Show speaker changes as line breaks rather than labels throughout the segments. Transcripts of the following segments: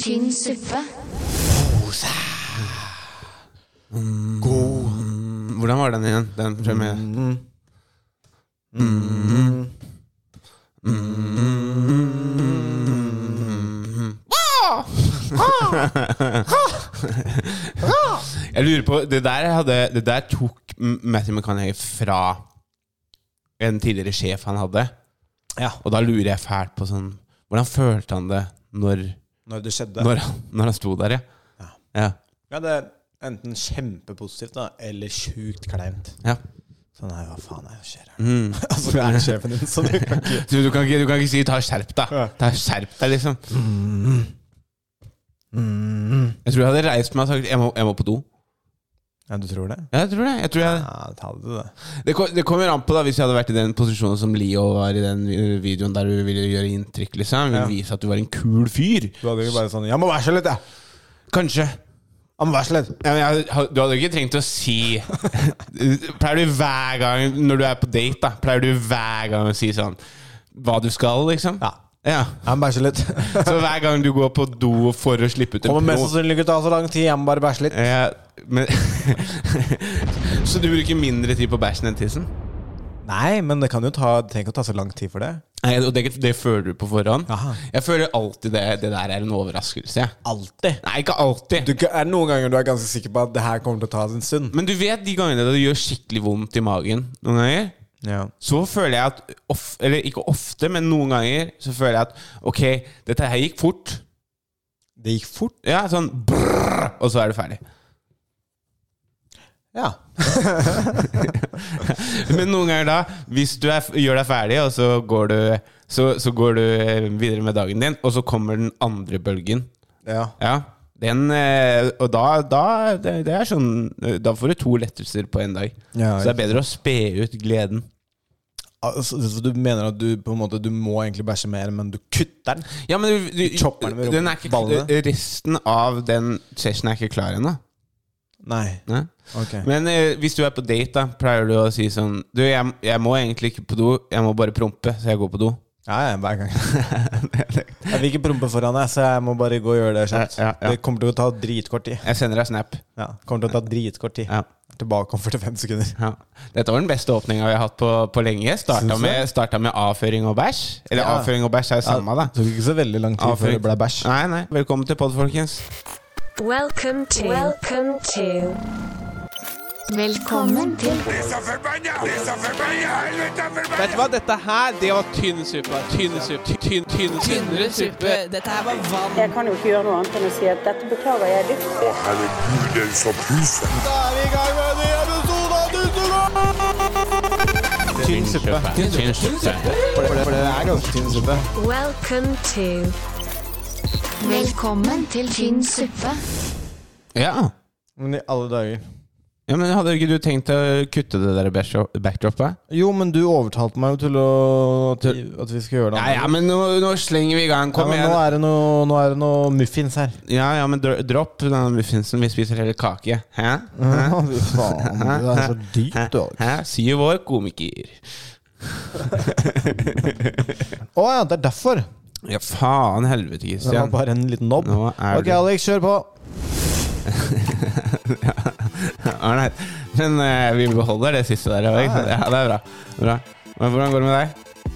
tynn suppe.
God Hvordan var den igjen? Den premiere. Jeg lurer på Det der, hadde, det der tok M- Matthew McConaughey fra en tidligere sjef han hadde.
Ja.
Og da lurer jeg fælt på sånn Hvordan følte han det når,
Når det skjedde.
når, han, når han sto der, ja? Ja.
Ja, det er enten kjempepositivt da, eller sjukt kleint.
ja.
Sånn, nei, hva faen er det som skjer her? altså, det er sjefen din, så du kan ikke
Mm. Du, du, kan ikke, du kan ikke si 'ta skjerp deg'.
Ja.
Ta skjerp deg, liksom. Jeg tror jeg hadde reist meg og sagt 'jeg må, jeg må på do'.
Ja, du tror det?
Ja, jeg tror det. Jeg tror jeg,
Ja, ta det, du, det.
Det, kom, det kommer an på da hvis jeg hadde vært i den posisjonen som Leo var i den vi- videoen der du ville gjøre inntrykk. liksom Ville
Ja.
vise at du var en kul fyr.
Du hadde jo bare sånn Jeg må være så litt, jeg!
Kanskje.
Jeg må være så litt!
Ja, men jeg, hadde- du hadde ikke trengt å si Pleier du hver gang når du er på date, da Pleier du hver gang å si sånn hva du skal, liksom?
Ja.
ja.
Jeg må bæsje litt.
Så hver gang du går på do for å slippe ut en
Kommer mest
pro
sannsynlig ikke til å ta så lang tid. Jeg må bare bæsje litt.
ja, men, Så du bruker mindre tid på bæsjen enn tissen?
Nei, men det kan jo ta Det trenger ikke å ta så lang tid for det.
Nei, og det, det føler du på forhånd?
Aha.
Jeg føler alltid det, det der er en overraskelse. jeg.
Alltid.
Nei, ikke alltid.
Du, er det noen ganger du er ganske sikker på at det her kommer til å ta en stund?
Men du vet de gangene det gjør skikkelig vondt i magen noen ganger?
Ja.
Så føler jeg at of, Eller ikke ofte, men noen ganger så føler jeg at ok, dette her gikk fort.
Det gikk fort.
Ja, sånn brrr, Og så er du ferdig.
Ja.
Men noen ganger da, hvis du er, gjør deg ferdig, og så går, du, så, så går du eh, videre med dagen din, og så kommer den andre bølgen.
ja.
Ja. Den, eh, og da, da det, det er sånn eh, Da får du to lettelser på én dag.
Ja,
så det er bedre å spe ut gleden.
Altså, så du mener at du på en måte Du må egentlig bæsje mer, men du kutter den?
Ja, men du, du,
chopper den med
den er ikke,
ballene.
Resten av den sessionen er ikke klar ennå.
Nei.
Nei?
Ok.
Men eh, hvis du er på date, da pleier du å si sånn Du, jeg, jeg må egentlig ikke på do, jeg må bare prompe, så jeg går på do.
Ja, ja, hver gang. Jeg vil ikke prompe foran deg, så jeg må bare gå og gjøre det kjapt.
Ja, ja, ja.
Det kommer til å ta dritkort tid.
jeg sender deg snap.
Ja, kommer til å ta dritkort tid.
Ja,
Tilbake om 45 sekunder.
ja. Dette var den beste åpninga vi har hatt på, på lenge. Starta
Syns du?
med, starta med avføring og bæsj. Eller
Ja.
avføring og bæsj er jo samme, da.
Det tok ikke så veldig lang tid før
Avføring.
det ble bæsj.
Nei, nei. Velkommen til pod, folkens.
Welcome to. Welcome to.
Velkommen til
Vet
Vet du hva, dette her, det var tynn suppe. Tynn suppe. Tynn, tynn, tynnere suppe.
Dette her var vann.
Jeg kan jo ikke gjøre noe annet enn å si at dette beklager jeg dypt.
Å, herregud, den som puser.
Tynn suppe.
Tynn suppe.
For det, for det er ganske tynn suppe.
Welcome to.
Velkommen til tynn suppe.
Ja.
Men i alle dager.
ja, men hadde ikke du tenkt å kutte det der backdrop- backdropet?
Jo, men du overtalte meg jo til å til at vi skal gjøre det.
Ja, ja, men nå, nå slenger vi i gang. Kom
Ja, men
igjen.
nå er det noe, nå er det noe muffins her.
Ja, ja, men dro- dropp den muffinsen. Vi spiser hele kake. Hæ? Hæ?
Fy faen, det er så dypt, du.
Hæ? Syv år, komiker.
Å ja, det er derfor.
Ja, faen helvete,
Det var
Christian.
bare en liten nobb.
Nå er
Ok,
det-
Alex, kjør på.
Ålreit. Men eh, vi beholder det siste der. Erik.
Ja.
Ja, det er bra. bra. Men hvordan går det med deg?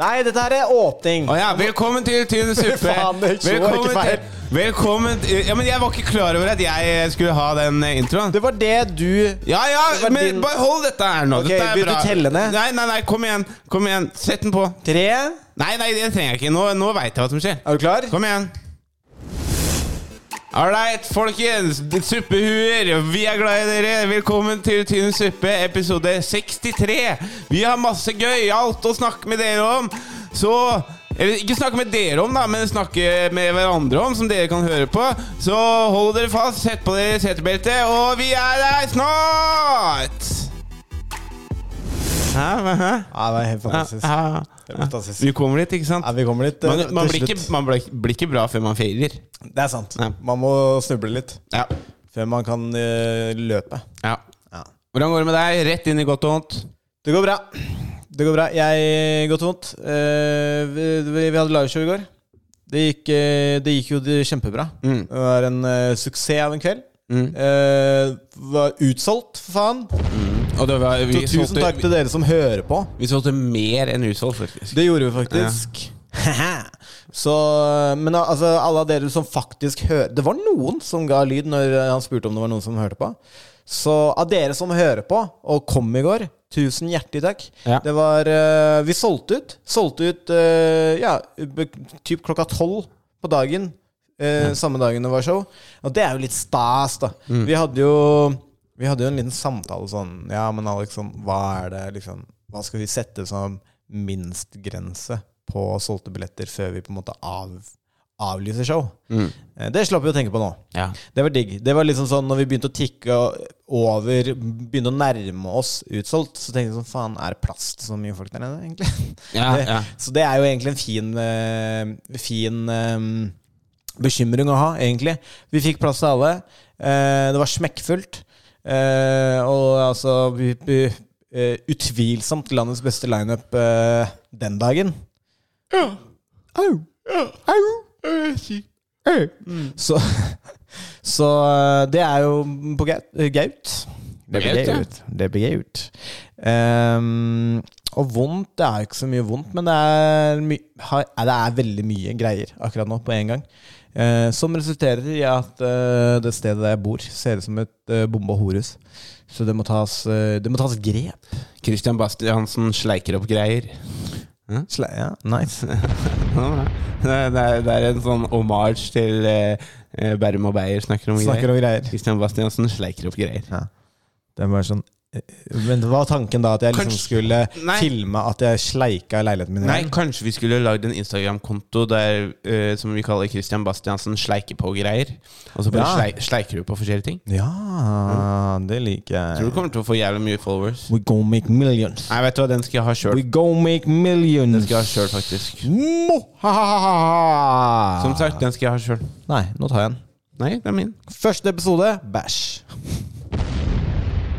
Nei, dette her er åpning.
Å ja, velkommen til Tynn suppe!
Faen, det så
Velkommen
ikke feil.
til, velkommen til Ja, men jeg var ikke klar over at jeg skulle ha den eh, introen.
Det var det du
Ja, ja,
Det var
men
din-
bare hold dette her nå.
Ok,
dette er
vil du
bra.
telle ned?
Nei, nei, nei, kom igjen. Kom igjen. Sett den på.
Tre.
Nei, nei, det trenger jeg ikke. Nå, nå veit jeg hva som skjer.
Er du klar?
Kom igjen. Alright, folkens. Suppehuer, vi er glad i dere. Velkommen til Tynn suppe, episode 63. Vi har masse gøyalt å snakke med dere om. Så Eller ikke snakke med dere om, da, men snakke med hverandre om, som dere kan høre på. Så hold dere fast, sett på dere setebeltet, og vi er der snart! Hæ? Hva? Hæ?
Ja, det er helt fantastisk.
Hæ?
Det er fantastisk.
Vi kommer dit, ikke sant?
Ja, vi kommer litt eh,
Man, man,
til
blir ikke,
slutt.
man blir, blir ikke bra før man feiler.
Det er sant.
Nei.
Man må snuble litt
Ja.
før man kan eh, løpe.
ja.
Ja.
Hvordan går det med deg? Rett inn i godt og vondt.
Det går bra. Det går bra. Jeg går tomt. Eh, vi, vi vi hadde liveshow i går. Det gikk, eh, det gikk jo det- kjempebra.
Mm.
Det var en eh, suksess av en kveld. Eh, var utsolgt, for faen.
Og det var, vi,
Så tusen
solgte,
takk til dere som hører på.
vi solgte mer enn utsolgt, faktisk.
Det gjorde vi faktisk. Så, men al- altså, alle av dere som faktisk hører Det var noen som ga lyd når eh, han spurte om det var noen som hørte på. Så av dere som hører på, og kom i går, tusen hjertelig takk.
Ja.
Det var eh, Vi solgte ut. Solgte ut eh, ja, be- typ klokka tolv på dagen. eh, Samme dagen det var show. Og det er jo litt stas, da.
Mm.
Vi hadde jo vi hadde jo en liten samtale sånn Ja, men Alex, sånn, hva er det liksom Hva skal vi sette som minstgrense på solgte billetter før vi på en måte av, avlyser show? Eh, Det slapp vi å tenke på nå.
Mm. Ja.
Det var digg. Det var liksom sånn når vi begynte å tikke over, begynte å nærme oss utsolgt, så tenkte vi sånn Faen, er det plass til så mye folk der nede, egentlig?
Ja,
Det-
ja.
Så det er jo egentlig en fin, eh, fin eh, bekymring å ha, egentlig. Vi fikk plass til alle. Eh, det var smekkfullt. Eh, og altså vi, vi, eh, Utvilsomt landets beste lineup eh, den dagen. Au. Au. Au.
Mm.
Så, så eh, det er jo på Gaut. Gaut. Det blir
Gaut, ja.
Gaut. Det blir Gaut. Ehm, og vondt Det er jo ikke så mye vondt, men det er, my har, eh, det er veldig mye greier akkurat nå på en gang. Eh, som resulterer i at eh, det stedet der jeg bor, ser ut som et uh, bomba horehus. Så det må tas, eh, det må tas grep.
Christian Bastiansen sleiker opp greier.
Sle ja, nice.
Det er, det er en sånn homage til eh, eh, Bærum og Beyer snakker om
Snakker
greier.
om greier.
Christian Bastiansen sleiker opp greier.
Det var sånn eh, Men hva var tanken da? At jeg liksom
Kanskje-
skulle
Nei.
filme at jeg sleika leiligheten min? i
Nei,
hjel?
kanskje vi skulle lagd en Instagram-konto der eh, som vi kaller Christian Bastiansen sleiker på greier. Og så bare
Ja.
slei, sleiker du på forskjellige ting.
Ja, det liker jeg.
Mm. Tror du kommer til å få jævlig mye followers?
We go make millions.
Nei, vet du hva, den skal jeg ha sjøl.
We go make millions.
Den skal jeg ha sjøl, faktisk.
Mo- ha, ha, ha, ha.
Som sagt, eh, den skal jeg ha sjøl.
Ah. Nei, nå tar jeg en.
Nei, det er min.
Første episode bæsj.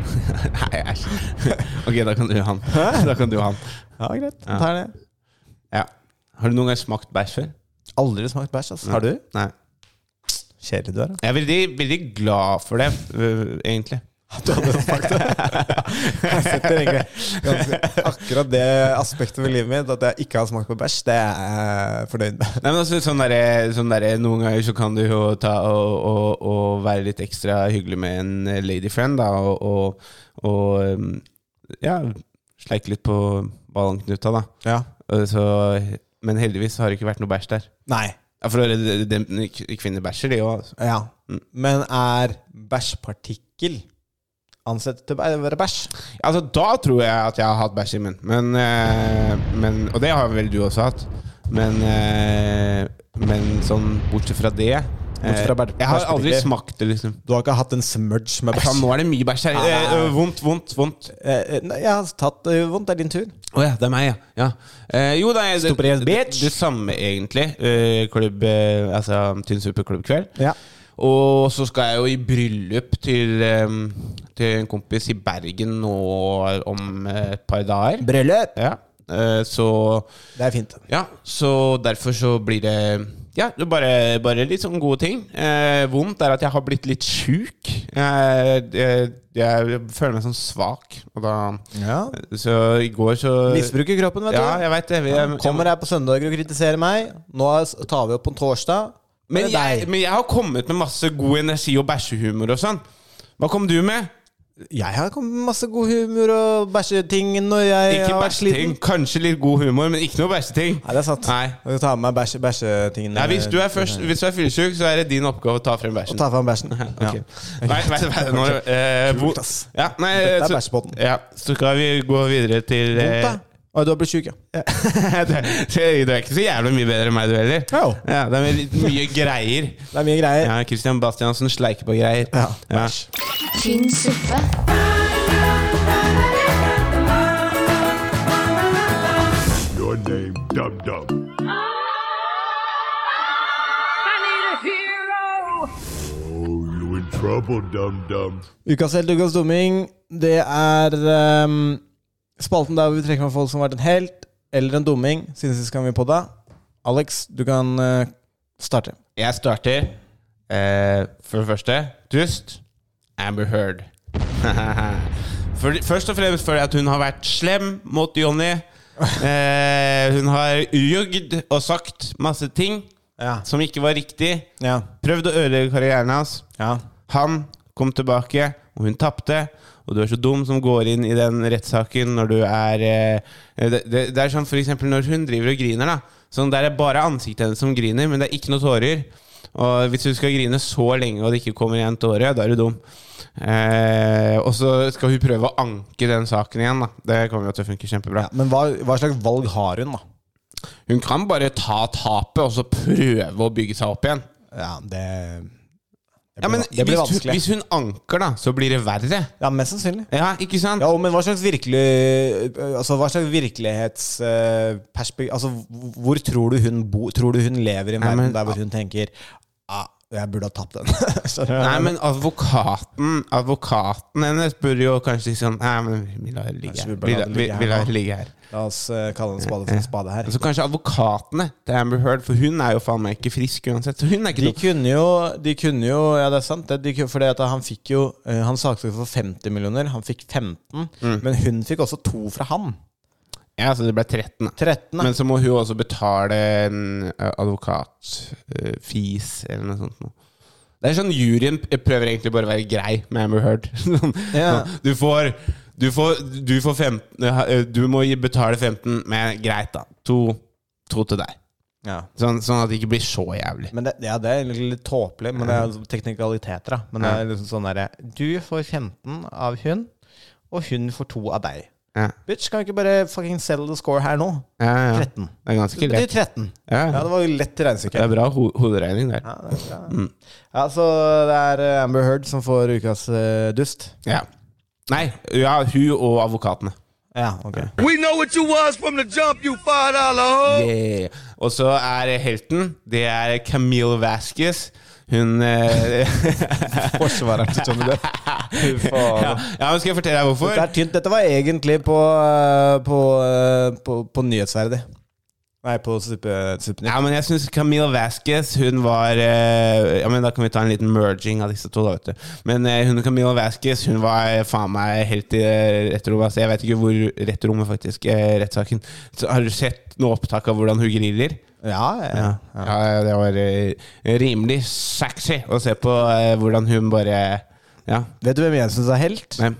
Nei, æsj. ok, da kan du ha den. Da kan du ha den.
Ja, greit. Da tar jeg det.
Ja. Har du noen gang smakt bæsj før?
Aldri smakt bæsj, ass. Har du?
Nei.
Kjedelig du er, altså. da.
Jeg er veldig, veldig glad for det, øh, egentlig.
Du hadde smakt det. Jeg setter egentlig ganske akkurat det aspektet ved livet mitt, at jeg ikke har smakt på bæsj, det er jeg fornøyd med.
Nei, men altså, sånn derre- sånn derre, Noen ganger så kan du jo ta og, og, og være litt ekstra hyggelig med en eh, ladyfriend, da, og, og, og um, ja, sleike litt på ballongknuta, da.
Ja.
Og Så, men heldigvis har det ikke vært noe bæsj der.
Nei.
Ja, For det- det- det- altså. kvinner bæsjer, de òg.
Ja.
Mm.
Men er bæsjpartikkel ansett til å være bæsj?
Altså, da tror jeg at jeg har hatt bæsj i munnen. Men, eh, men, og det har vel du også hatt. Men, eh, men sånn bortsett fra det eh,
Bortsett fra bæ-
Jeg har aldri
bæsjpartikler.
smakt det, liksom.
Du har ikke hatt en smudge med
Faen,
bæsj?
nå er det mye bæsj her. Eh, eh, vondt, vondt, vondt. Å
Eh, eh, nei, jeg har tatt eh, vondt. Det er din tur.
ja, det er meg, ja. ja. Eh, jo, da, jeg,
Stupid ass
det, det,
bitch.
det samme, egentlig. Eh, klubb, eh, altså Tynn superklubbkveld.
Ja.
Og så skal jeg jo i bryllup til, eh, til en kompis i Bergen nå om eh, et par dager.
Bryllup!
Ja. Eh, så
Det er fint.
Ja, så derfor så blir det Ja, det er bare, bare litt sånn gode ting. Eh, vondt er at jeg har blitt litt sjuk. Eh, jeg, jeg føler meg sånn svak. Og da
Ja.
Så i går så
Eh, Misbruker kroppen, vet
Ja,
du.
jeg veit det. Jeg,
Kommer her på søndager og kritiserer meg. Nå s- tar vi opp på en torsdag.
men,
det er
jeg, men jeg har kommet med masse god energi og bæsjehumor og sånn. Hva kom du med?
Jeg har kommet med masse god humor og bæsjeting når jeg
Ikke
har vært
bæsjeting.
sliten.
Kanskje litt god humor, men ikke noe bæsjeting.
Nei, det er sant.
Nei.
Jeg skal ta med meg bæsje- bæsjetingene.
Nei, hvis du er først Hvis du er fyllesyk, så er det din oppgave å ta frem bæsjen.
Ta fram bæsjen.
Ok. Nei, nei, nei, nå, eh, hvor-
Kult, ass.
ja, nei,
Dette er
så-
bæsjepodden.
Ja, så skal vi gå videre til
Vondt, da.
eh,
Å, du har blitt sjuk, ja.
Du er du er ikke så jævlig mye bedre enn meg, du heller.
Jo.
Ja, det er litt mye greier.
Det er mye greier.
Ja, Christian Bastiansen sleiker på greier.
Eh. Ja.
Ja.
tynn suppe,
Your name, Dum Dum. Oh, you in trouble, Dum Dum.
Ukas helt, ukas dumming, det er ehm, spalten der vi trekker fram folk som har vært en helt eller en dumming siden sist gang vi podda. Alex, du kan eh, Starte.
Jeg starter eh, for det første Dust. Amber Heard. for, først og fremst fordi at hun har vært slem mot Johnny. Eh, hun har ljugd og sagt masse ting
Ja.
som ikke var riktig.
Ja.
Prøvd å ødelegge karrieren hans.
Ja.
Han kom tilbake, og hun tapte. Og du er så dum som går inn i den rettssaken når du er eh, det, det, det er sånn for eksempel når hun driver og griner, da. Sånn Der er bare ansiktet hennes som griner, men det er ikke noe tårer. Og hvis du skal grine så lenge og det ikke kommer igjen tårer, da er du dum. Eh, og så skal hun prøve å anke den saken igjen, da. Det kommer jo til å funke kjempebra.
Men hva, hva slags valg har hun, da?
Hun kan bare ta tapet og så prøve å bygge seg opp igjen.
Ja, det, det blir,
Ja, men
det blir
hvis, hun,
vanskelig.
hvis hun anker, da, så blir det verre.
Ja, mest sannsynlig.
Ja, ikke sant?
Ja, og- men hva slags virkelig Altså, hva slags virkelighetsperspektiv Altså, hvor tror du hun bor? Tror du hun lever i en
Nei, men-
verden der hvor hun tenker ah, 'Jeg burde ha tapt den'? Skjønner du hva
Nei,
jeg mener?
men advokaten Advokaten hennes burde jo kanskje si sånn Nei, men vi lar det ligge
Kanskje
her.
vi
Vi
bør la
lar,
det
vi, vi
ligge her,
lar
da.
det ligge her.
La oss eh, kalle en spade for en spade her.
Så kanskje advokatene til Amber Heard, for hun er jo faen meg ikke frisk uansett. Så hun er ikke
De
dum.
kunne jo, de kunne jo Ja, det er sant. Det, de, kunne- fordi at han fikk jo eh, Han saksøkte for 50 millioner. Han fikk 15.
Mm.
Men hun fikk også to fra han.
Ja, så det ble 13. da.
13. da.
Men så må hun også betale en advokatfis eller noe sånt. noe. Det er sånn Juryen p- prøver egentlig bare å være grei med Amber Heard. Sånn,
Ja.
sånn, Du får Du får, du får 15 eh, Du må gi- betale 15, men greit, da. To, to til deg.
ja.
Sånn, sånn at det ikke blir så jævlig.
Men det, ja, det er egentlig litt tåpelig, men det er liksom teknikaliteter. da Men det er liksom sånn derre Du får 15 av hun, og hun får to av deg.
Ja,
Bitch, kan vi ikke bare fucking settle the score her nå?
ja, ja.
13.
Det er
Det
ganske
betyr
lett.
13.
Ja,
Ja,
ja.
det var jo lett
Det
regnestykke.
er bra ho hoderegning der.
Ja, det er bra. ja, så det er eh, Amber Heard som får ukas eh, dust.
Ja. Nei, ja, hun og advokatene.
Ja, ok
We know what you was from the jump, you five dollar hoe.
Yeah. Og så er helten Det er Camille Vasquez. Hun eh,
Forsvareren til Johnny Depp. Fy faen.
ja, ja, men Skal jeg fortelle deg hvorfor?
Dette er tynt. Dette var egentlig på, eh, på, eh, på, på nyhetsverdig. Nei, på Suppe- Suppenytt.
Ja, men jeg synes Camille Vasquez Hun var eh, Ja, men da kan vi ta en liten merging av disse to da, vet du Men eh, hun Camille Vasquez Hun var eh, faen meg helt i eh, retterommet altså, Jeg vet ikke hvor retterommet faktisk eh, Rettsaken Så Har du sett noe opptak av hvordan hun griller?
Ja, ja.
Ja, ja. det var eh, rimelig sexy Å se på eh, hvordan hun bare Ja,
Vet du hvem jeg syns er helt?
nei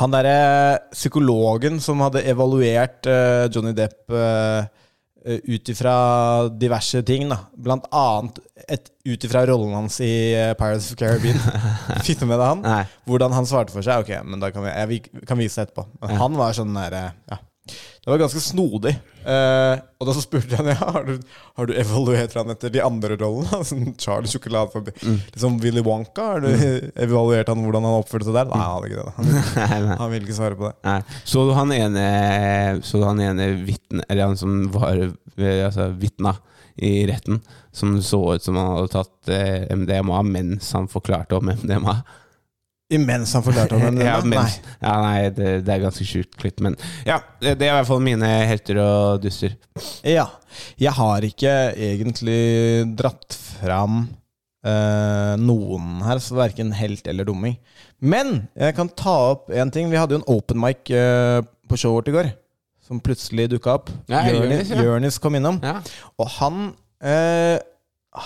Han derre psykologen som hadde evaluert eh, Johnny Depp uh, ut ifra diverse ting, da. Blant annet et- ut ifra rollen hans i eh, Pirates of Caribbean. Fikk du med deg han?
Nei.
Hvordan han svarte for seg? Ok, men da kan vi, jeg, vi kan vise det etterpå. Men han var sånn derre ja. Det var ganske snodig. Eh, og da så spurte han ja, har du, har du evaluert han etter de andre rollene. da? Sånn Charlie Sjokoladefabrikk. Liksom Willy Wonka. Har du evaluert han hvordan han oppførte seg der? Nei, han hadde ikke det. da. Han,
Nei, nei.
han ville ikke svare på det.
Nei. Så du han ene Så du han ene vitne Eller han som var eh, altså, vitna i retten Som så ut som han hadde tatt eh, MDMA Mens han forklarte om MDMA
Imens han forklarte han
ja,
Nei.
mens, ja, nei det, det er ganske sjukt klipp Men ja, det det er i hvert fall mine helter og duster
Ja. Jeg har ikke egentlig dratt fram eh, noen her, så verken helt eller dumming. Men jeg kan ta opp en ting. Vi hadde jo en open mic eh, på showet vårt i går, som plutselig dukka opp.
Ja, Jørnis,
Jørnis,
ja.
Jørnis kom innom.
Ja,
Og han eh,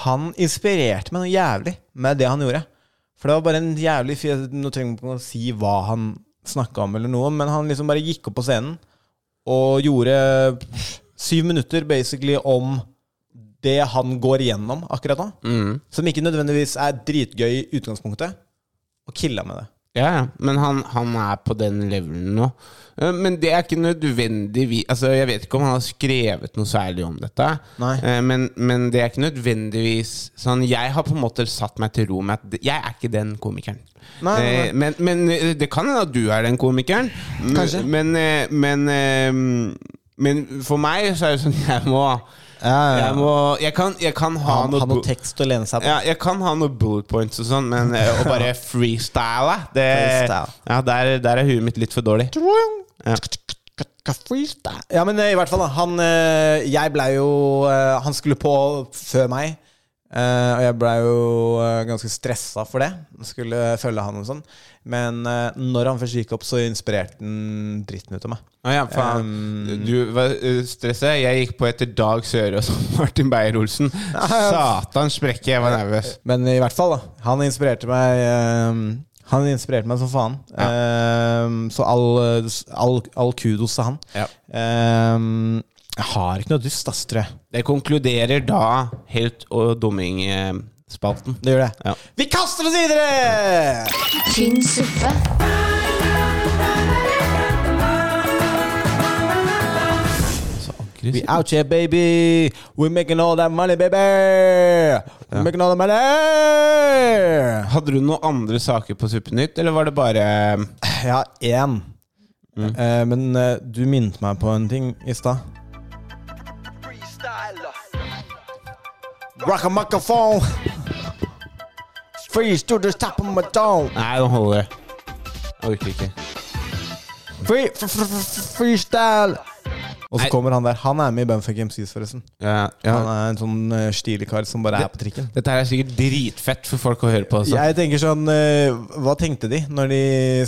Han inspirerte meg noe jævlig med det han gjorde. For det var bare en jævlig fyr Nå trenger man ikke å si hva han snakka om, eller noe, men han liksom bare gikk opp på scenen og gjorde syv minutter basically om det han går igjennom akkurat nå.
mm.
Som ikke nødvendigvis er dritgøy i utgangspunktet, og killa med det.
ja, ja. men han, han er på den levelen nå Eh, Men det er ikke nødvendig altså, Jeg vet ikke om han har skrevet noe særlig om dette
Nei.
Eh, men, men det er ikke nødvendigvis sånn, Jeg har på en måte satt meg til ro med at jeg er ikke den komikeren.
Nei, nei, nei.
Eh, Men, men eh, det kan hende at du er den komikeren. M-
Kanskje.
Men, eh, men, eh, men for meg så er det sånn Jeg må Jeg, må, jeg, kan, jeg kan ha
Han,
noe
han
bu-
noe tekst å lene seg på.
ja, jeg kan ha noen bullet points og sånn, men eh, å bare freestyle eh, det,
Freestyle.
Ja, der, der er huet mitt litt for dårlig. Ja.
Ja, men eh, i hvert fall, da. Han, eh, jeg ble jo eh, Han skulle på før meg. Eh, og jeg blei jo eh, ganske stressa for det. Skulle følge han og sånn. Men eh, når han først gikk opp, så inspirerte han dritten ut av meg.
Å ja, faen.
Um,
du var uh, stresset. Jeg gikk på etter Dag Sørås og Martin Beyer-Olsen. Satan sprekke, jeg var nervøs.
Men i hvert fall, da. Han inspirerte meg ehm, Han inspirerte meg som faen. Ehm, så all, eh, all, all kudos til han.
Ja.
Ehm, jeg har ikke noe dust, ass, tror jeg.
Det konkluderer da helt og eh, dumming-spalten.
Det gjør det.
Ja.
Vi kaster oss videre!
tynn suppe,
We out here, baby. We're making all that money, baby. We're making all that money.
Hadde du noen andre saker på Suppenytt, eller var det bare
Jeg har én.
Mm.
Eh, men eh, du minnet meg på en ting i stad. Rock a microphone. Freeze to the top of my dome.
Nei, nå holder det. Jeg orker ikke.
Free, f f f freestyle. Og så
Nei.
kommer han der. Han er med i Bumfuck MCs, forresten.
Ja,
Han
ja.
er en sånn eh, stilig kar som bare er på trikken.
Dette her er sikkert dritfett for folk å høre på. altså. Også.
Jeg tenker sånn eh, Hva tenkte de når de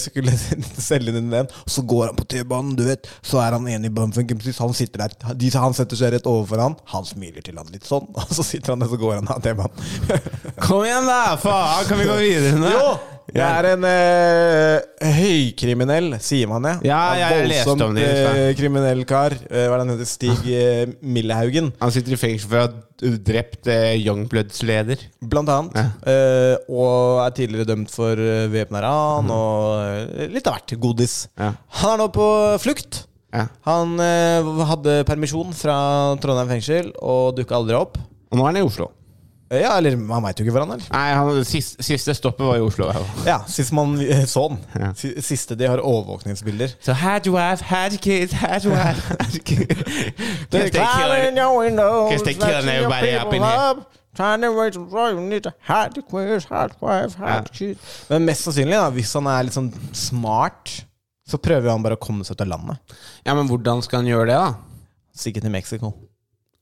skulle selge den ideen? Så går han på T-banen, du vet. Så er han enig i Bumfunk MCs. Han sitter der de, Han setter seg rett overfor han. Han smiler til han litt sånn, og så sitter han der, så går han av T-banen.
Kom igjen, da! Faen, kan vi gå videre nå?
Jo! Det er en eh, høykriminell, sier man det.
Ja, ja, jeg leste om det,
eh, kriminell kar. Eh, hva er det han heter? Stig eh, Millehaugen.
Han sitter i fengsel for å ha drept eh, Youngbloods leder.
Blant annet. eh, og er tidligere dømt for uh, væpna ran og eh, litt av hvert godis.
Mhm. Ja.
Han er nå på flukt.
Ja.
Han eh, hadde permisjon fra Trondheim fengsel og dukka aldri opp.
Og nå er han i Oslo.
Eh, Ja, eller han veit jo ikke hvor han er.
Nei, han, siste, siste stoppet var i Oslo.
Ja, Sist man eh, så han.
Ja.
Si- Siste de har overvåkningsbilder.
Så her du er, her kids, her du er her kids. Guess they
Climb in
killer.
your windows,
Guess they killing
snatching your
everybody up in
people
here.
up, trying to raise the floor, you need to hide the queers, hide the wife, hide
Ja.
the kids. Men mest sannsynlig, da, hvis han er litt sånn smart, så prøver han bare å komme seg ut av landet.
Ja, men hvordan skal han gjøre det, da?
Stikke til Mexico.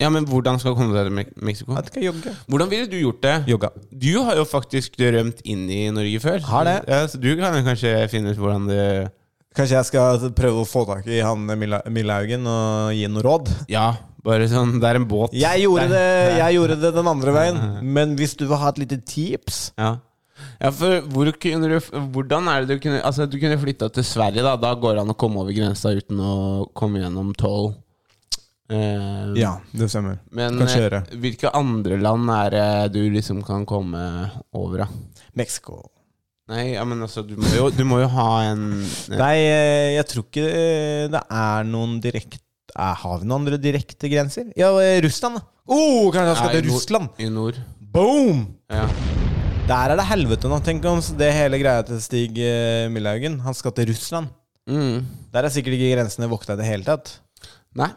Ja, men hvordan skal han komme seg til Mek- Mexico?
Jeg skal jogge.
Hvordan ville du gjort det?
Jogga.
Du har jo faktisk rømt inn i Norge før.
Har det.
Ja, så du kan jo kanskje finne ut hvordan det
Kanskje jeg skal prøve å få tak i han Milla- Millehaugen og gi noe råd?
Ja, bare sånn Det er en båt.
Jeg gjorde,
Der.
det, jeg gjorde det den andre veien, men hvis du vil ha et lite tips
Ja. Ja, for hvor kunne du, hvordan er det du kunne Altså, du kunne flytta til Sverige, da. Da går det an å komme over grensa uten å komme gjennom toll. Eh,
Ja, det stemmer.
Men
Kanskje
eh,
gjøre.
hvilke andre land er det du liksom kan komme over, da?
Mexico.
Nei, ja, men altså, du må jo, du må jo ha en
Nei, eh, jeg tror ikke eh, det er noen direkte eh, Har vi noen andre direkte grenser? Ja, eh, Russland, da. Oh, kanskje jeg
Ja,
skal
i
til
nord-
Russland?
I nord.
Boom!
Ja.
Der er det helvete nå. Tenk om det hele greia til Stig eh, Millhaugen. Han skal til Russland.
Mm.
Der er sikkert ikke grensene vokta i det hele tatt.
Nei.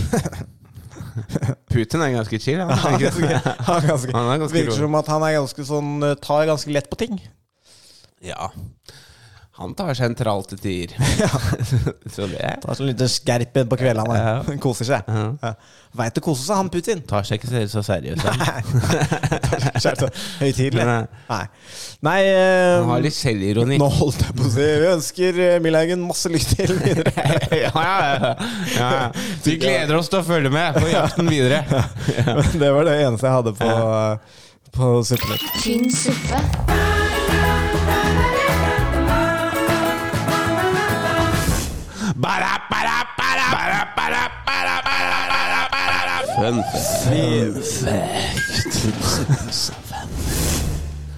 Putin er ganske chill, han.
Han, er
tenker jeg.
ganske, han, er ganske,
Han er ganske
virker
rolig.
som at han er ganske sånn eh, tar ganske lett på ting.
Ja. Han tar sentralt til tider. Så det er
Tar sånn liten skerpen på kveldene.
Ja.
Koser seg.
Ja.
Ja. Veit å kose seg, han Putin.
Tar seg ikke så seriøst. han.
Kjære, Høytidelig.
Nei.
Nei. Nei eh,
Han har litt selvironi.
Nå holdt jeg på å si Vi ønsker eh, Millhaugen masse lykke til videre.
ja, ja, ja. Vi gleder oss til å følge med på jakten videre.
Men Det var det eneste jeg hadde på, på Supernett.
tynn suppe,
Fun.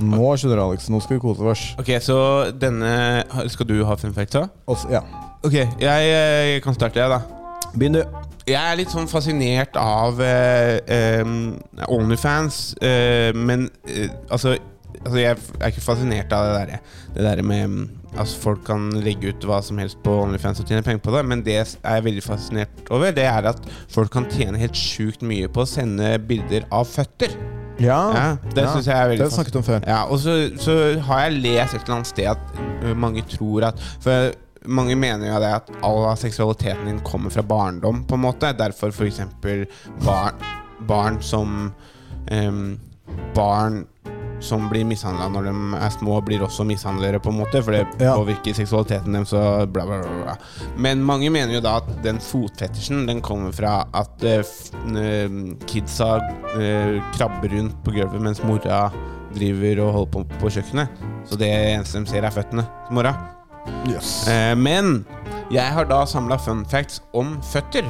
Nå skjønner du, Alex. Nå skal vi kose oss.
Ok, så denne Skal du ha fun fact, da?
Også, ja.
Ok, jeg, eh, kan starte, jeg, da.
Begynn, du.
Jeg er litt sånn fascinert av eh, eh, Onlyfans, eh, men eh, altså, altså Jeg er ikke fascinert av det derre Det der med mm, Altså folk kan legge ut hva som helst på Onlyfans og tjene penger på det, men det jeg er veldig fascinert over, det er at folk kan tjene helt sjukt mye på å sende bilder av føtter.
Ja,
Ja, det synes jeg er veldig
Det har vi snakket om før.
Ja, og så, så har jeg lest et eller annet sted at ø, mange tror at For mange mener jo det at all av seksualiteten din kommer fra barndom, på en måte. Derfor f.eks. Barn, barn som øhm, barn som blir mishandla når de er små, blir også mishandlere, på en måte, for det
Ja.
påvirker seksualiteten deres og bla, bla, bla, bla. Men mange mener jo da at den fotfetisjen den kommer fra at eh, f- eh, kidsa eh, krabber rundt på gulvet mens mora driver og holder på på kjøkkenet. Så det eneste de ser, er føttene til mora. Eh, Men jeg har da samla fun facts om føtter.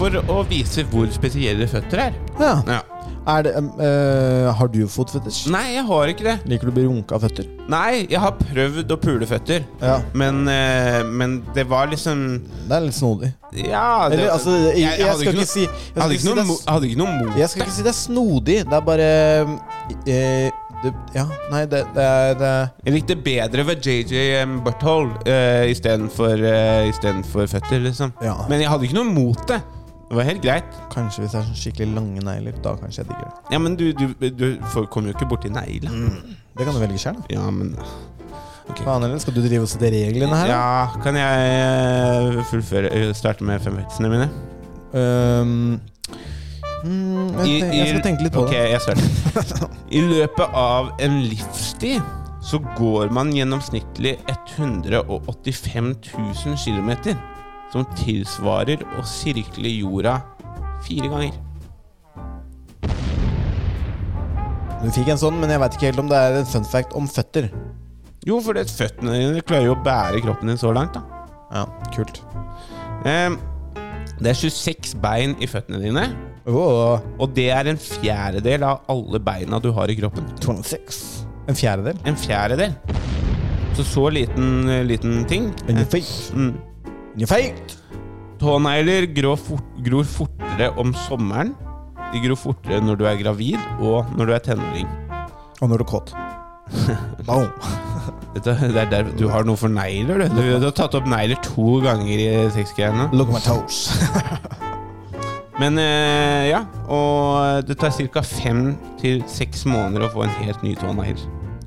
For å vise hvor spesielle føtter er.
Ja.
Ja.
Er det, em, eh, har du fotfetisj?
Nei, jeg har ikke det.
Liker du å bli runka av føtter?
Nei, jeg har prøvd å pule føtter.
Ja.
Men, eh, men det var liksom
Det er litt snodig.
Ja det,
Eller, altså, jeg, jeg,
hadde
skal
noe-
ikke si jeg skal
hadde
ikke si
ikke
det
noe
er
mo-
s-
hadde ikke noe mot
Jeg skal ikke si det er snodig. Det er bare eh, det, Ja, nei, det, det er det,
Jeg likte bedre ved um, JJ Butthole uh, istedenfor eh, istedenfor føtter, liksom.
Ja.
Men jeg hadde ikke noe mot det. Det var helt greit.
Kanskje hvis det er sånn skikkelig lange negler. Da kanskje jeg digger det.
Ja, Men du, du, du får- kommer jo ikke borti negla.
Mm. Det kan du velge sjøl, da.
Ja, men
Faen heller. Skal du drive og sette reglene her? da?
Ja, kan jeg eh, fullføre eh, starte med femvektsene mine?
Øhm, mm, jeg,
I-
tenk- jeg skal
i-
tenke litt på
Ok,
det.
jeg starter. I løpet av en livstid så går man gjennomsnittlig 185 000 km, som tilsvarer å sirkle jorda fire ganger.
Du fikk en sånn, men jeg veit ikke helt om det er en fun fact om føtter.
Jo, for det føttene dine klarer jo å bære kroppen din så langt, da.
Ja, kult.
Ehm, Det er 26 bein i føttene dine,
Oh,
og det er en fjerdedel av alle beina du har i kroppen.
26. En fjerdedel.
En fjerdedel. Så så liten, eh, liten ting.
In your face.
Mm.
In your face.
Tånegler gror, fort, gror fortere om sommeren. De gror fortere når du er gravid, og når du er tenåring.
Og når du er kåt. Boom.
Dette, det er der, du har noe for negler, du. Du, du har tatt opp negler to ganger i sexgreiene.
Look at my toes.
Men eh, ja, og det tar ca. fem til seks måneder å få en helt ny tånegl.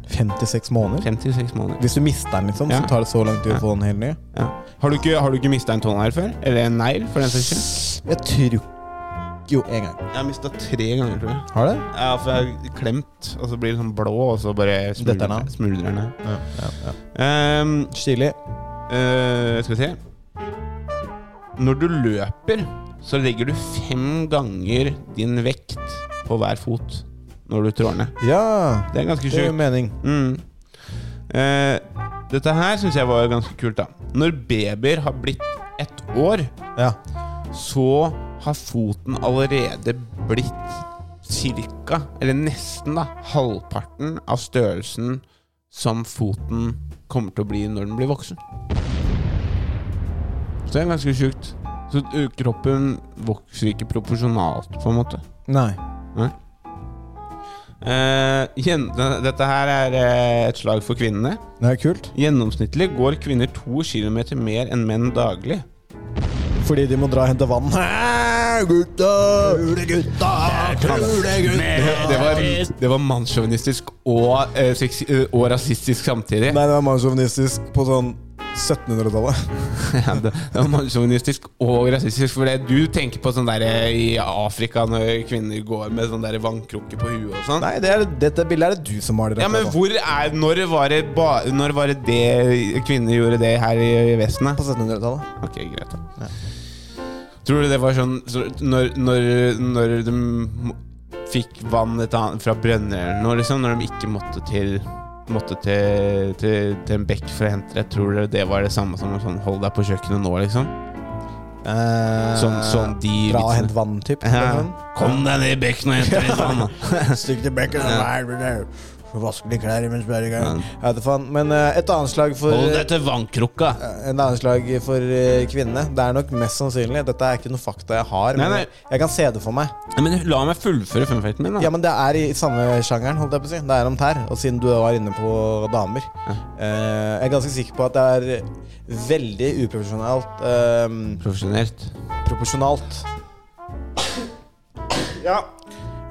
56 måneder.
Fem til seks måneder.
Hvis du mister den, liksom,
Ja.
så tar det så lang tid å få den helt ny.
Ja. Har du ikke, har du ikke mista en tånegl før? Eller en negl, for den saks skyld?
Jeg tror Jo, en gang.
Jeg har mista tre ganger, tror jeg.
Har det?
Ja, for jeg er klemt, og så blir det sånn blå, og så bare
Dette er
smuldrer
den.
smuldrer den. her.
Ja, ja, ja.
Ehm,
Stilig.
eh, skal vi se Når du løper, så legger du fem ganger din vekt på hver fot når du trår ned.
Ja,
Det er ganske
det gjør
sjukt.
mening.
Mm. Eh, dette her syns jeg var ganske kult, da. Når babyer har blitt ett år,
Ja.
så har foten allerede blitt cirka, eller nesten, da, halvparten av størrelsen som foten kommer til å bli når den blir voksen. Så det er ganske sjukt. Så ø, kroppen vokser ikke proporsjonalt, på en måte.
Nei.
Eh, gjen- dette her er eh, et slag for kvinnene.
Det er kult.
Gjennomsnittlig går kvinner to kilometer mer enn menn daglig.
Fordi de må dra og hente vann. Hæ, Gutta! Gutta!
Det var, det var mannssjåvinistisk og, eh, sexi- eh, og rasistisk samtidig.
Nei, det var mannssjåvinistisk på sånn 1700-tallet.
Ja, det det var mannssjåvinistisk og rasistisk. For det du tenker på sånn der eh, i Afrika når kvinner går med sånn der vannkrukke på huet og sånn.
Nei, det er, dette bildet er det du som maler.
Ja, men
dette nå.
hvor er Når var det, ba, når var det, det kvinner gjorde det her i, i Vesten? da?
På 1700-tallet.
Ok, greit da. Tror du det var sånn så når, når, når de m- fikk vann et annet, fra brønner eller noe, liksom, når de ikke måtte til Måtte til, til, til en bekk for å hente det. Tror dere det var det samme som å sånn, hold deg på kjøkkenet nå, liksom?
Eh,
Sånn- sånn de
Dra og
vitsene.
hent vann, typ.
Ja.
Sånn.
Kom deg ned i bekken og hent litt vann, da.
Stikk til bekken og vær med deg. Så Vask de klær imens du er i gang. Jeg vet da faen. Men eh, et annet slag for
Hold deg til vannkrukka.
Et annet slag for eh, kvinnene. Det er nok mest sannsynlig. Dette er ikke noe fakta jeg har,
Nei,
men
nei.
jeg- jeg kan se det for meg.
Nei, Men la meg fullføre funfacten min, da.
Ja, men Det er i samme sjangeren. holdt jeg på å si Det er om tær. Og siden du var inne på damer eh, Jeg er ganske sikker på at det er veldig uprofesjonalt eh,
Profesjonelt.
proporsjonalt. Ja.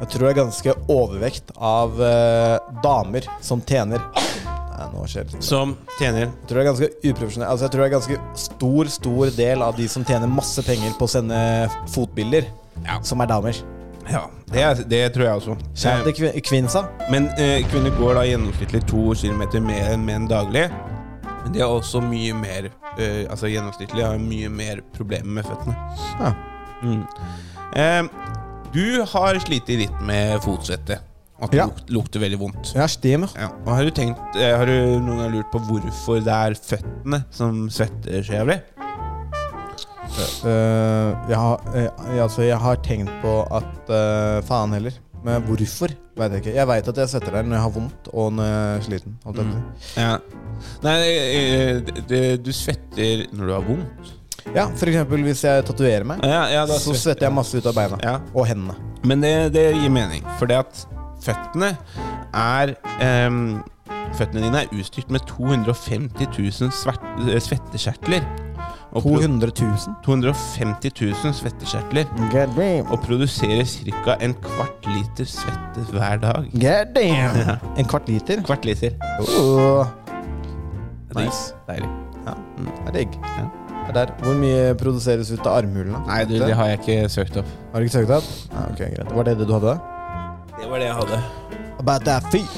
Jeg tror det er ganske overvekt av eh, damer som tjener Nei, nå skjer det ting.
Som tjener
Jeg tror det er ganske uprofesjonelt Altså jeg tror det er ganske stor, stor del av de som tjener masse penger på å sende fotbilder, som er damer.
Ja, det, er, det tror jeg også.
Kjære
Eh,
kvi- Kvinsa.
Men eh, kvinner går da gjennomsnittlig to kilometer mer enn menn daglig. Men de har også mye mer eh, Altså gjennomsnittlig har mye mer problemer med føttene.
Ja.
Mm. Eh, du har slitt litt med fotsvette. At det
Ja.
luk- lukter veldig vondt.
Ja, stemmer.
Ja. Og har du tenkt eh, Har du noen gang lurt på hvorfor det er føttene som svetter så jævlig?
Eh, jeg, har, eh, altså, jeg har tenkt på at eh, Faen heller. Men hvorfor? Vet jeg ikke. Jeg veit at jeg setter der når jeg har vondt og når jeg er sliten. holdt jeg på å si.
Ja. Nei, eh, det- det- du svetter når du har vondt.
Ja, for eksempel hvis jeg tatoverer meg,
Ja, ja, da
så svetter jeg masse ut av beina.
Ja.
Og hendene.
Men det, det gir mening, for det at føttene er ehm, Føttene dine er utstyrt med 250 000 svert, eh, svettekjertler. Og pro-
200 000.
250 000 svettekjertler.
God damn.
Og produserer ca. en kvart liter svette hver dag.
God damn. En kvart liter.
Kvart liter.
Åh,
Nice. Deilig.
det er digg.
Ja.
Det er der. Hvor mye produseres ut av armhulene?
Nei, du, det har jeg ikke søkt opp.
Har du ikke søkt opp? Nei, ok, greit. Var det det du hadde?
Det var det jeg hadde.
About that feet.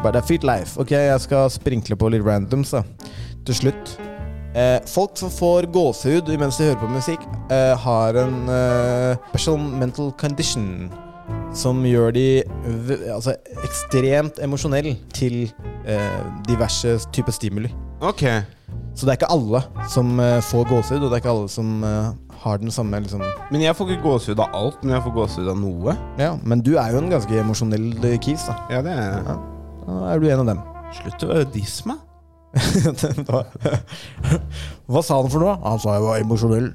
About that feet life. Ok, jeg skal sprinkle på litt randoms da. Til slutt. Eh, folk som får gåsehud mens de hører på musikk, eh, har en eh, special mental condition som gjør de v altså, ekstremt emosjonell til eh, diverse typer stimuli.
Ok.
Så det er ikke alle som eh, får gåsehud, og det er ikke alle som eh, har den samme liksom
Men jeg får ikke gåsehud av alt, men jeg får gåsehud av noe.
Ja, men du er jo en ganske emosjonell eh, kis, da.
Ja, det er
Da er du en av dem.
Slutt å være disma.
Da- Hva sa han for noe? Han sa jeg var emosjonell.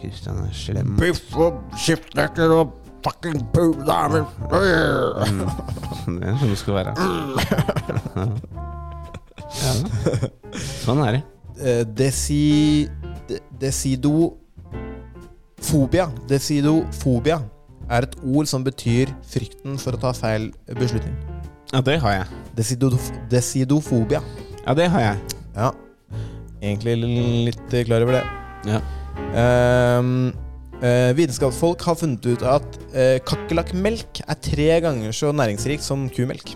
Kristian er slem.
Biff og skipsnøkler og fucking pooldamer.
Det er sånn det skal være. Ja. Sånn er det.
Eh, Desi... de- Desido... Fobia. Desidofobia er et ord som betyr frykten for å ta feil beslutning.
Ja, det har jeg.
Desido, desidofobia.
Ja, det har jeg.
Ja. Egentlig litt eh, klar over det.
Ja.
Ehm, eh, vitenskapsfolk har funnet ut at uh, kakerlakkmelk er tre ganger så næringsrikt som kumelk.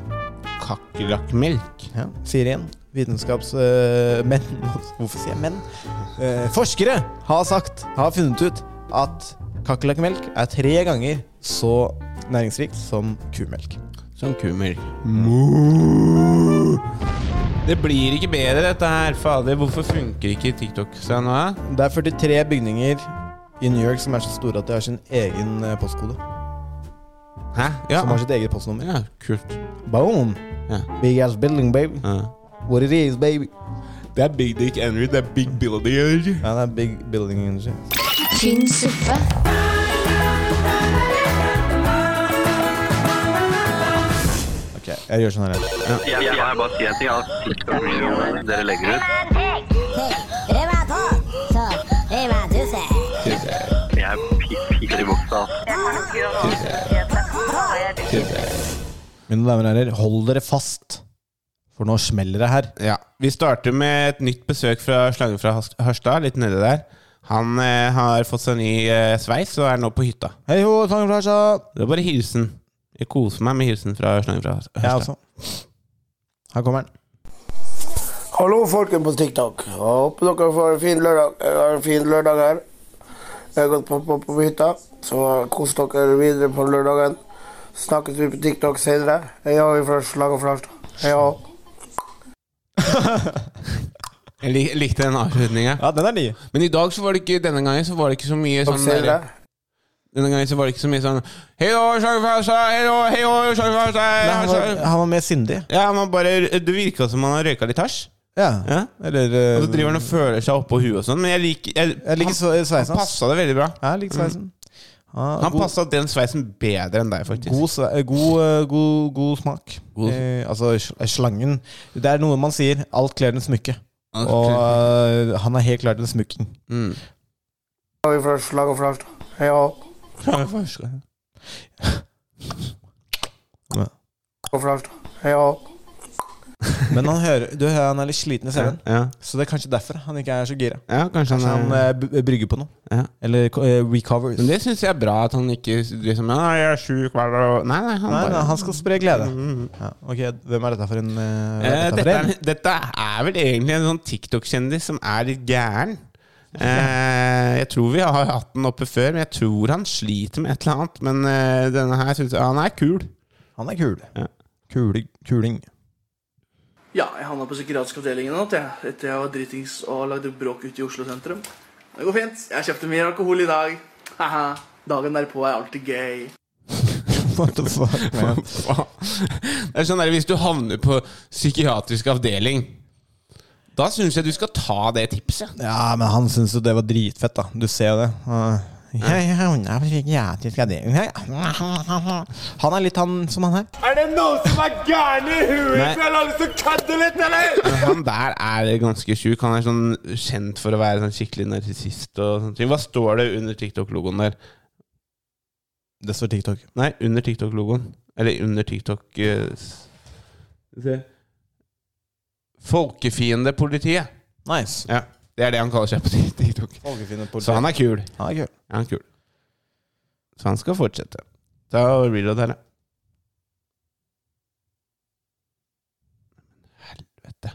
Kakerlakkmelk.
Ja, sier igjen. Vitenskapsmenn Hvorfor sier jeg menn? Eh, forskere har sagt, har funnet ut, at kakerlakkmelk er tre ganger så næringsrikt som kumelk.
Som kumelk. Det blir ikke bedre, dette her. Fader, hvorfor funker ikke TikTok seg nå? eh?
Det er 43 bygninger i New York som er så store at de har sin egen eh, postkode.
Hæ? Ja.
Som har sitt eget postnummer.
ja kult.
Boom!
Ja.
Big ass building, baby.
Ja.
What it is, baby.
Det er Big Dick Henry, det er Big Builder.
Ja, det er big building energy.
tynn suppe,
Ok, jeg gjør sånn her. jeg.
Jeg, jeg, jeg bare sier en ting. Altså, TikTok-videoene dere legger ut Jeg er pi- piker i buksa.
Mine damer og herrer, hold dere fast, for nå smeller det her.
Ja. Vi starter med et nytt besøk fra Slangen fra Has- Harstad, litt nedi der. Han eh, har fått seg ny eh, sveis og er nå på hytta.
Hei ho, Sangen fra Harstad.
Det var bare hilsen. Jeg koser meg med hilsen fra Slangen fra Harstad.
Jeg også. Her kommer den.
Hallo, folken på TikTok. Jeg håper dere får en fin lørdag, Jeg har en fin lørdag her. Jeg har gått på, på, på hytta, så kos dere videre på lørdagen. Snakkes vi på TikTok senere. Jeg er fra Slag og Flarstad. Hei og
Jeg lik likte den avslutninga.
Ja, den er ny.
Men i dag så var det ikke denne gangen så var det ikke så mye sånn
senere.
Denne gangen så var det ikke så mye sånn Hei da, Slangen fra Harstad! Hei da, hei da, Slangen fra
Nei, han, var,
Harstad!
han var mer sindig.
Ja, man bare Det virka som han har røyka litt hasj.
Ja.
Ja.
Eller
Og
eh,
så driver han og føler seg oppå huet og sånn, men jeg liker jeg,
Jeg liker sve- sveisen
Han
hans.
passa det veldig bra.
Ja, jeg liker sveisen. Ja,
Han
god-
passa den sveisen bedre enn deg, faktisk.
God, sve- eh, god, eh, god, god smak.
God-
Eh, altså, sl- slangen Det er noe man sier. Alt kler den smykke.
Alt
Og
kler
eh, han er helt klart en smykking.
Mm.
Jeg er fra Slag og Flarstad. Hei og og Flarstad. Hei og
Men han, hører, du, hører han er litt sliten i CV-en.
Ja,
Så det er kanskje derfor han ikke er så gira.
ja kanskje
Kanskje han
han er
eh, b- brygger på noe.
um, ja.
Eller eh, recovers.
Men det syns jeg er bra, at han ikke liksom «Nei, 'Jeg er sjuk hver dag' Nei, nei, han
Nei, nei,
bare
han skal spre glede. Ja, ok, Hvem er dette for en eh,
Mm,
hva
Eh,
er dette
dette,
for en?
er, dette er vel egentlig en sånn TikTok-kjendis som er litt gæren. Eh, jeg tror vi har hatt den oppe før, men jeg tror han sliter med et eller annet. Men eh, denne her syns jeg Han er kul.
Han er kul.
Ja.
Kule, kuling.
Ja, jeg havna på psykiatrisk avdeling i natt jeg, etter jeg var dritings og lagde bråk ute i Oslo sentrum. Det går fint. Jeg kjøpte mer alkohol i dag. Haha. Dagen derpå er alltid gøy.
What the fuck, man?
det er sånn der, Hvis du havner på psykiatrisk avdeling, da syns jeg du skal ta det tipset.
Ja, men han syntes jo det var dritfett, da. Du ser jo det. Uh, ja, ja, ja, ja, ja, ja, ja, ja. Han er litt han som han her.
Nei. Han der er ganske sjuk. Han er sånn kjent for å være sånn skikkelig narsissist. og sånne ting. Hva står det under TikTok-logoen der?
Det står TikTok.
Nei, under TikTok-logoen. Eller under TikTok eh, s- se. Folkefiendepolitiet.
Nice.
Ja, det er det han kaller seg på TikTok. Så han er kul.
han er kul.
Han er kul. Så han skal fortsette. Ta og reload her, da. Helvete.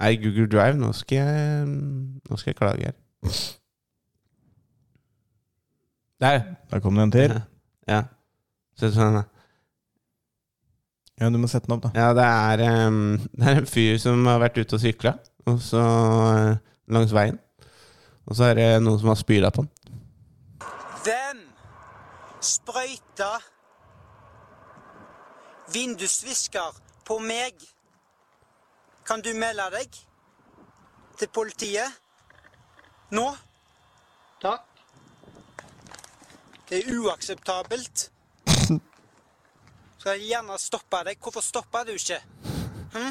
Nei, Google Drive, nå skal jeg Nå skal jeg klage her. Der.
Der kom det en til.
Ja. Se sånn, da.
Ja, du må sette den opp, da.
Ja, det er, em, det er en fyr som har vært ute og sykla og så, eh, langs veien. Og så er det noen som har spyla på han.
Den sprøyta vindusvisker på meg. Kan du melde deg til politiet nå? Takk. Det er uakseptabelt. Skal jeg gjerne stoppe deg. Hvorfor stopper du ikke? Hm?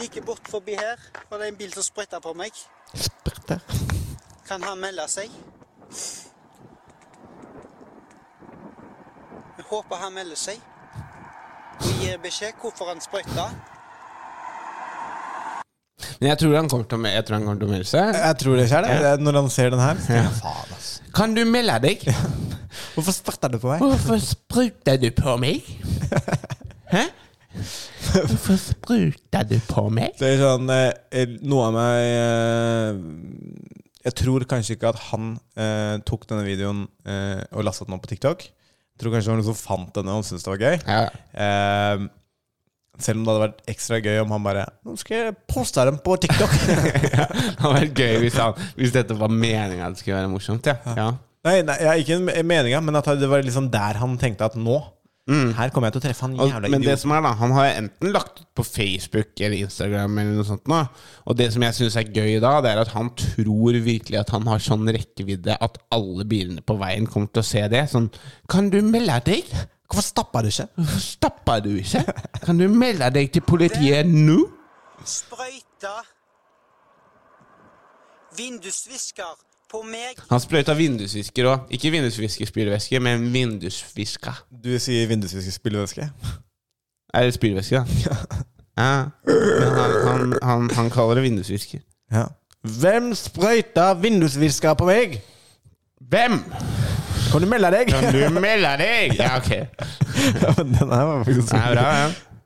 Like bort forbi her var det en bil som sprøyta på meg. Kan han melde seg? Jeg håper han melder seg og gir beskjed hvorfor han sprøyta.
Men jeg tror han kommer til å, me- jeg tror han kommer til å melde seg.
Jeg tror det ikke er det. det. er Når han ser den her. Ja. Faen, ass.
Kan du melde deg?
Hvorfor starter du på meg?
Hvorfor spruta du på meg? Hæ? Hvorfor spruta du på meg?
Det er sånn eh, Noe av meg eh, Jeg tror kanskje ikke at han eh, tok denne videoen eh, og lastet den opp på TikTok. Jeg tror kanskje det var noen som fant denne og syntes det var gøy.
Ja.
Eh, selv om det hadde vært ekstra gøy om han bare Nå skal jeg poste dem på TikTok.
Det hadde vært gøy hvis, han, hvis dette var meninga det skulle være morsomt. Ja. Ja.
nei, nei, jeg, ikke en meninga, men at det var liksom der han tenkte at nå Her kommer jeg til å treffe han
Mm. Og,
jævla
men det
idiot.
som er da, han har enten lagt ut på Facebook eller Instagram eller noe sånt nå, og det som jeg syns er gøy da, det er at han tror virkelig at han har sånn rekkevidde at alle bilene på veien kommer til å se det. Sånn Kan du melde deg?
Hvorfor stappa du ikke?
Hvorfor stappa du ikke? Kan du melde deg til politiet nå?
Sprøyta vindusvisker på meg.
Han sprøyta vindusvisker òg. Ikke vindusviskerspylevæske, men vindusviska.
Du sier vindusvisker spillevæske.
Er det spylevæske, da? Ja. Men han, han, han, han kaller det vindusvisker.
Ja. Hvem sprøyta vindusvisker på meg?
Hvem?
Kan du melde deg?
Kan du melde deg? Ja, ok.
Ja, men den her var faktisk
Den er bra, ja.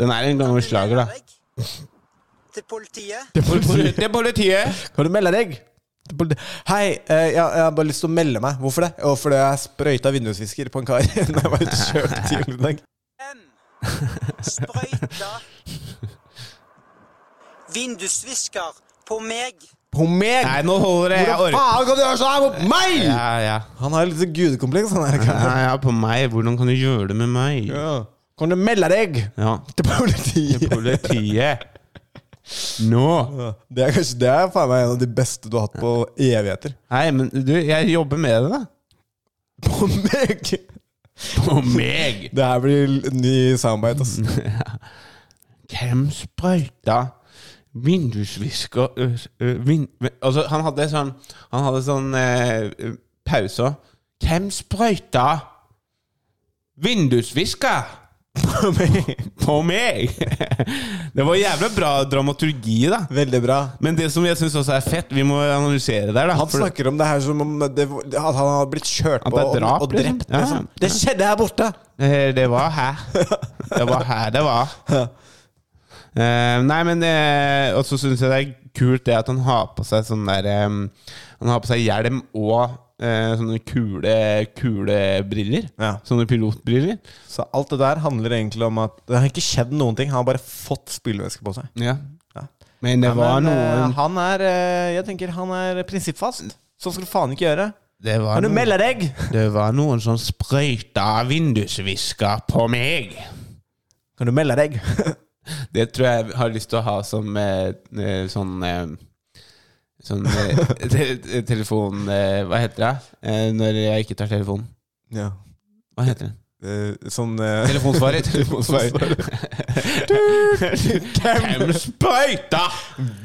Den er en gammel slager, da.
deg til politiet.
Det er politiet.
Kan du melde deg? Hei, eh, jeg, jeg har bare lyst til å melde meg. Hvorfor det? Og fordi jeg sprøyta vindusvisker på en kar da jeg var ute og kjørte tidligere i dag.
Den sprøyta vindusvisker på meg.
På meg!
Nei, nå holder det. Jeg orker
Hvordan faen kan du gjøre sånn her mot meg?!
Ja, ja.
Han har litt sånn gudekompleks, han her.
Ja,
karen.
ja, på meg. Hvordan kan du gjøre det med meg?
Kan du melde deg
Ja.
til politiet?
Politiet. Nå.
Ja, Det er kanskje det er faen meg en av de beste du har hatt på evigheter.
Nei, men du, jeg jobber med det, da.
På meg!
På meg.
Det her blir ny soundbite, ass.
Hvem sprøyta vindusvisker ø, ø, vin, Altså, han hadde sånn Han hadde sånn eh, pause òg. Hvem sprøyta vindusvisker
På meg.
på meg? Det var jævla bra dramaturgi, da.
Veldig bra.
Men det som jeg syns også er fett, vi må analysere der, da.
Han
for-
snakker om det her som om det, at han har blitt kjørt
At
på
det er
og,
drap,
og drept.
liksom. Ja,
liksom.
ja.
Det skjedde her borte!
Eh, Det var her. Det var her det var. Eh, nei, men eh, Og så syns jeg det er kult det at han har på seg sånn der eh, Han har på seg hjelm og eh, sånne kule kulebriller.
Ja.
Sånne pilotbriller.
Så alt det der handler egentlig om at det har ikke skjedd noen ting. Han har bare fått spylevæske på seg.
Ja.
Ja.
Men det
Ja,
var
men, eh,
noen
Han er eh, Jeg tenker han er prinsippfast. Sånn skal du faen ikke gjøre.
det var,
Kan du
noen,
melde deg?
det var noen som sprøyta vindusvisker på meg.
Kan du melde deg?
Det tror jeg jeg har lyst til å ha som eh, eh, sånn eh, Sånn eh, te- te- telefon eh, Hva heter det? Eh, når jeg ikke tar telefonen.
ja.
Hva heter det?
Eh, sånn eh,
Telefonsvarer. Telefonsvarer. Hvem sprøyta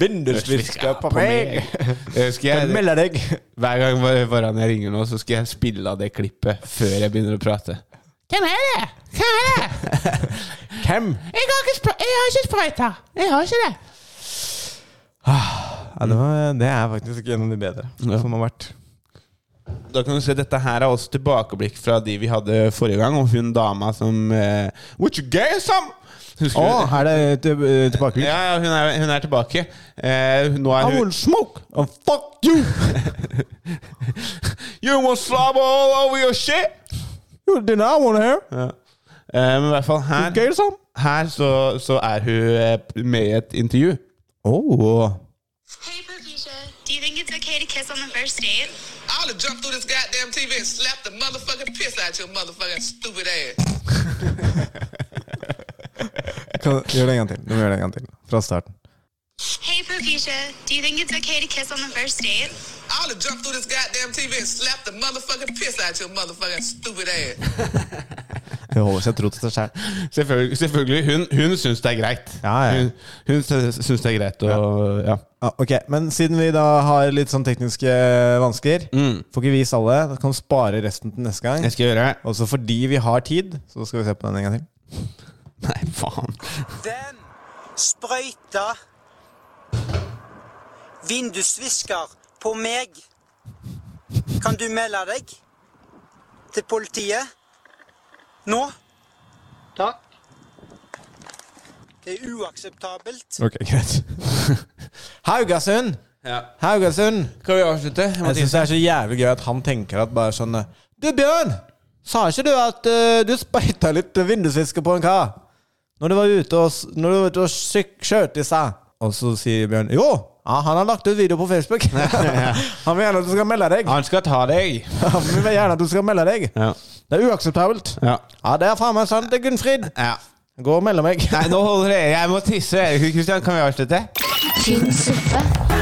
Vindusvisker på meg!
Eh, Skal
Kan du
jeg,
melde deg?
hver gang hver- hver gang jeg ringer nå, så skal jeg spille av det klippet før jeg begynner å prate. Hvem er det? Hvem er det?
Hvem?
Jeg har ikke, spr jeg har ikke sprøyta. Jeg har ikke det.
Ja, det, var, det er faktisk ikke en av de bedre som har vært.
Da kan du se Dette her er også tilbakeblikk fra de vi hadde forrige gang, og hun dama som eh, What you gay some? Husker
Å,
du?
er det til- eh, tilbakeblikk?
Ja, ja, hun er, hun er tilbake. Eh, nå er
I
hun
will smoke and fuck you!
You will slobber all over your shit!
You did not want to hear.
Ja. Eh, men i hvert fall
You
her,
gay some?
her så, så er hun eh, med i et intervju. Oh.
Hey, Pokesha. Do you think it's okay to kiss on the first date?
I'd have jumped through this goddamn TV and slapped the motherfucking piss out your motherfucking stupid ass.
Kan, gjør det en gang til. Du må gjøre det en gang til. Fra starten.
Hey, Pokesha. Do you think it's okay to kiss on the first date?
I'd have jumped through this goddamn TV and slapped the motherfucking piss out your motherfucking stupid ass.
Det holder seg tro til seg selv
Selvfølgelig. selvfølgelig. Hun, hun syns det er greit.
Ja, ja.
Hun, hun syns det er greit å ja.
Ja, ok, Men siden vi da har litt sånn tekniske vansker, får ikke vise alle. Da kan vi spare resten til neste gang.
Mm. Jeg skal gjøre det.
Også fordi vi har tid, så skal vi se på den en gang til.
Nei, faen.
Den sprøyta vindusvisker på meg. Kan du melde deg til politiet? Nå? Takk. Det er uakseptabelt.
Ok, greit Haugasund!
Ja.
Haugasund!
Skal vi avslutte?
Jeg syns det er så jævlig gøy at han tenker at bare sånn Du, Bjørn! Sa ikke du at eh, du spytta litt vindusvisker på en kar? Når du var ute og, s- når du var ute og syk, kjørte i seg? Og så sier Bjørn Jo! Ja, han har lagt ut video på Facebook. han vil gjerne at du skal melde deg.
Han skal ta deg.
Han vil gjerne at du skal melde deg.
Ja.
Det er uakseptabelt.
Ja.
Ja, det er faen meg sant, det er Gunnfrid. Gå og meld meg.
Nei, nå holder det. Jeg må tisse. Kristian, kan vi avslutte?
tynn suppe.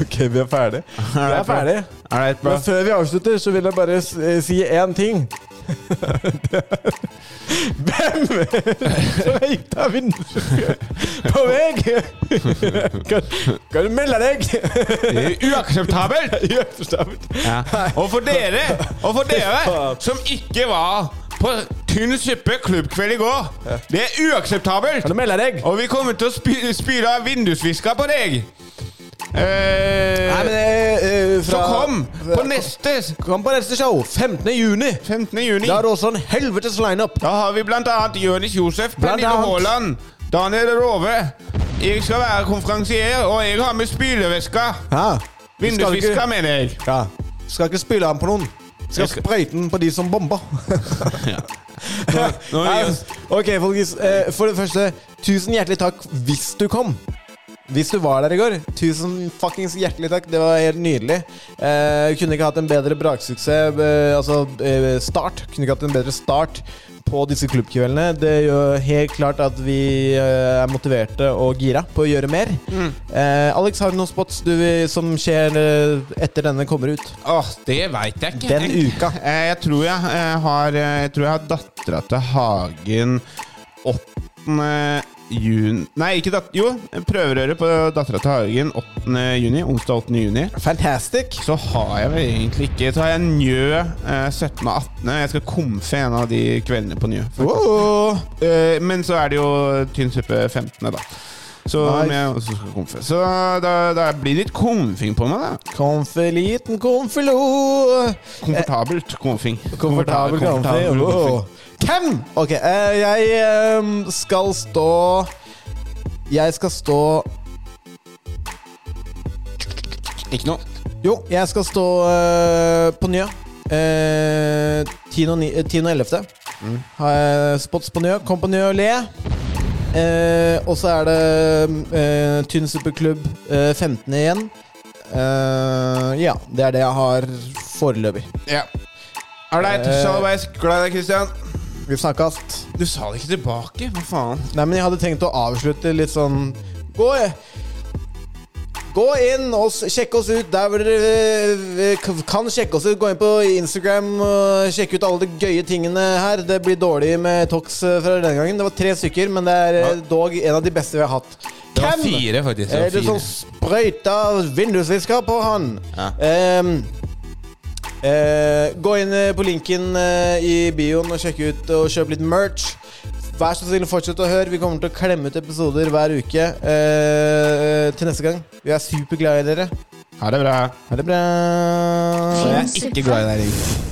Ok, vi er ferdig. Vi er ferdig.
All right, bro.
Men før vi avslutter, så vil jeg bare s- eh, si én ting. Hvem som gikk av vinduet på meg? Kan, kan du melde deg?
Uakseptabelt!
Uakseptabelt.
Ja. Og for dere, og for dere som ikke var på Tynn suppe klubbkveld i går, det er
Kan du
uakseptabelt!
melde deg?
Og vi kommer til å spy- spyle av vindusviska på deg. Eh,
Nei, men eh, eh,
så
fra,
kom på neste
Kom på neste show. 15. juni.
15. juni.
Da er det også en helvetes lineup.
Da har vi blant annet Jonis Josef,
Blant
Pernille
annet.
Haaland, Daniel Rove. Jeg skal være konferansier, og jeg har med spylevæske.
Ja. Vi skal ikke-
Vindusviske, mener jeg.
Ja. Skal ikke spille den på noen. Skal,
Jeg skal-
sprøyte den på de som bomber.
Nå
Nei,
gir oss.
ok, folkens. eh, For det første, tusen hjertelig takk hvis du kom. Hvis du var der i går, tusen fuckings hjertelig takk. Det var helt nydelig. Eh, kunne ikke hatt en bedre braksuksess. Eh, altså eh, start. Kunne ikke hatt en bedre start på disse klubbkveldene. Det gjør helt klart at vi eh, er motiverte og gira på å gjøre mer.
Mm.
Eh, Alex, har du noen spots du, vil- som skjer eh, etter denne kommer ut?
Åh, det veit jeg ikke.
Den uka.
Eh, Jeg tror jeg, eh, har eh, Jeg tror jeg har dattera til Hagen 8. juni Nei, ikke dat jo, prøverøret på dattera til Hagen 8. juni, onsdag 8. juni.
Fantastic.
Så har jeg vel egentlig ikke Så har jeg Njø eh, 17. og 18. Jeg skal komfe en av de kveldene på Njø. faktisk. Eh, men så er det jo Tynn suppe 15., da. Så,
Nice.
men jeg også skal komfe. så da, da blir det litt komfing på meg, da.
Komfi, liten komfilo.
Komfortabelt komfing.
Komfortabel komfi.
komfortabel
Wow.
Eh, komfing.
Hvem? Ok, eh, jeg eh, skal stå Jeg skal stå
Ikke noe.
Jo, jeg skal stå eh, på Njø. Eh, 10. og ni- eh, 10. og 11. Har jeg spots på Njø. Kom på Njø og le. Eh, og så er det eh, Tynn Superklubb eh, 15. igjen. Eh, ja, det er det jeg har foreløpig.
Ja. Er det
Eh.
sjalabais? Glad i deg, Christian.
Vi snakkes.
Du sa det ikke tilbake. Hva faen?
Nei, men jeg hadde tenkt å avslutte litt sånn Gå, gå inn og s- sjekk oss ut der hvor dere eh, k- kan sjekke oss ut. Gå inn på Instagram og sjekk ut alle de gøye tingene her. Det blir dårlig med Tox eh, fra denne gangen. Det var tre stykker, men det er eh, dog en av de beste vi har hatt.
Det var
Hvem
fire, faktisk.
Er
Det
Eh, det
var
som
fire.
sprøyta vindusvisker på han?
Ja.
Ehm, Eh, gå inn eh, på linken eh, i bioen og sjekk ut og kjøp litt merch. Vær så snill, fortsett å høre. Vi kommer til å klemme ut episoder hver uke eh, til neste gang. Vi er superglade i dere.
Ha det bra.
Ha det bra.
Jeg er ikke glad
i deg, Ring.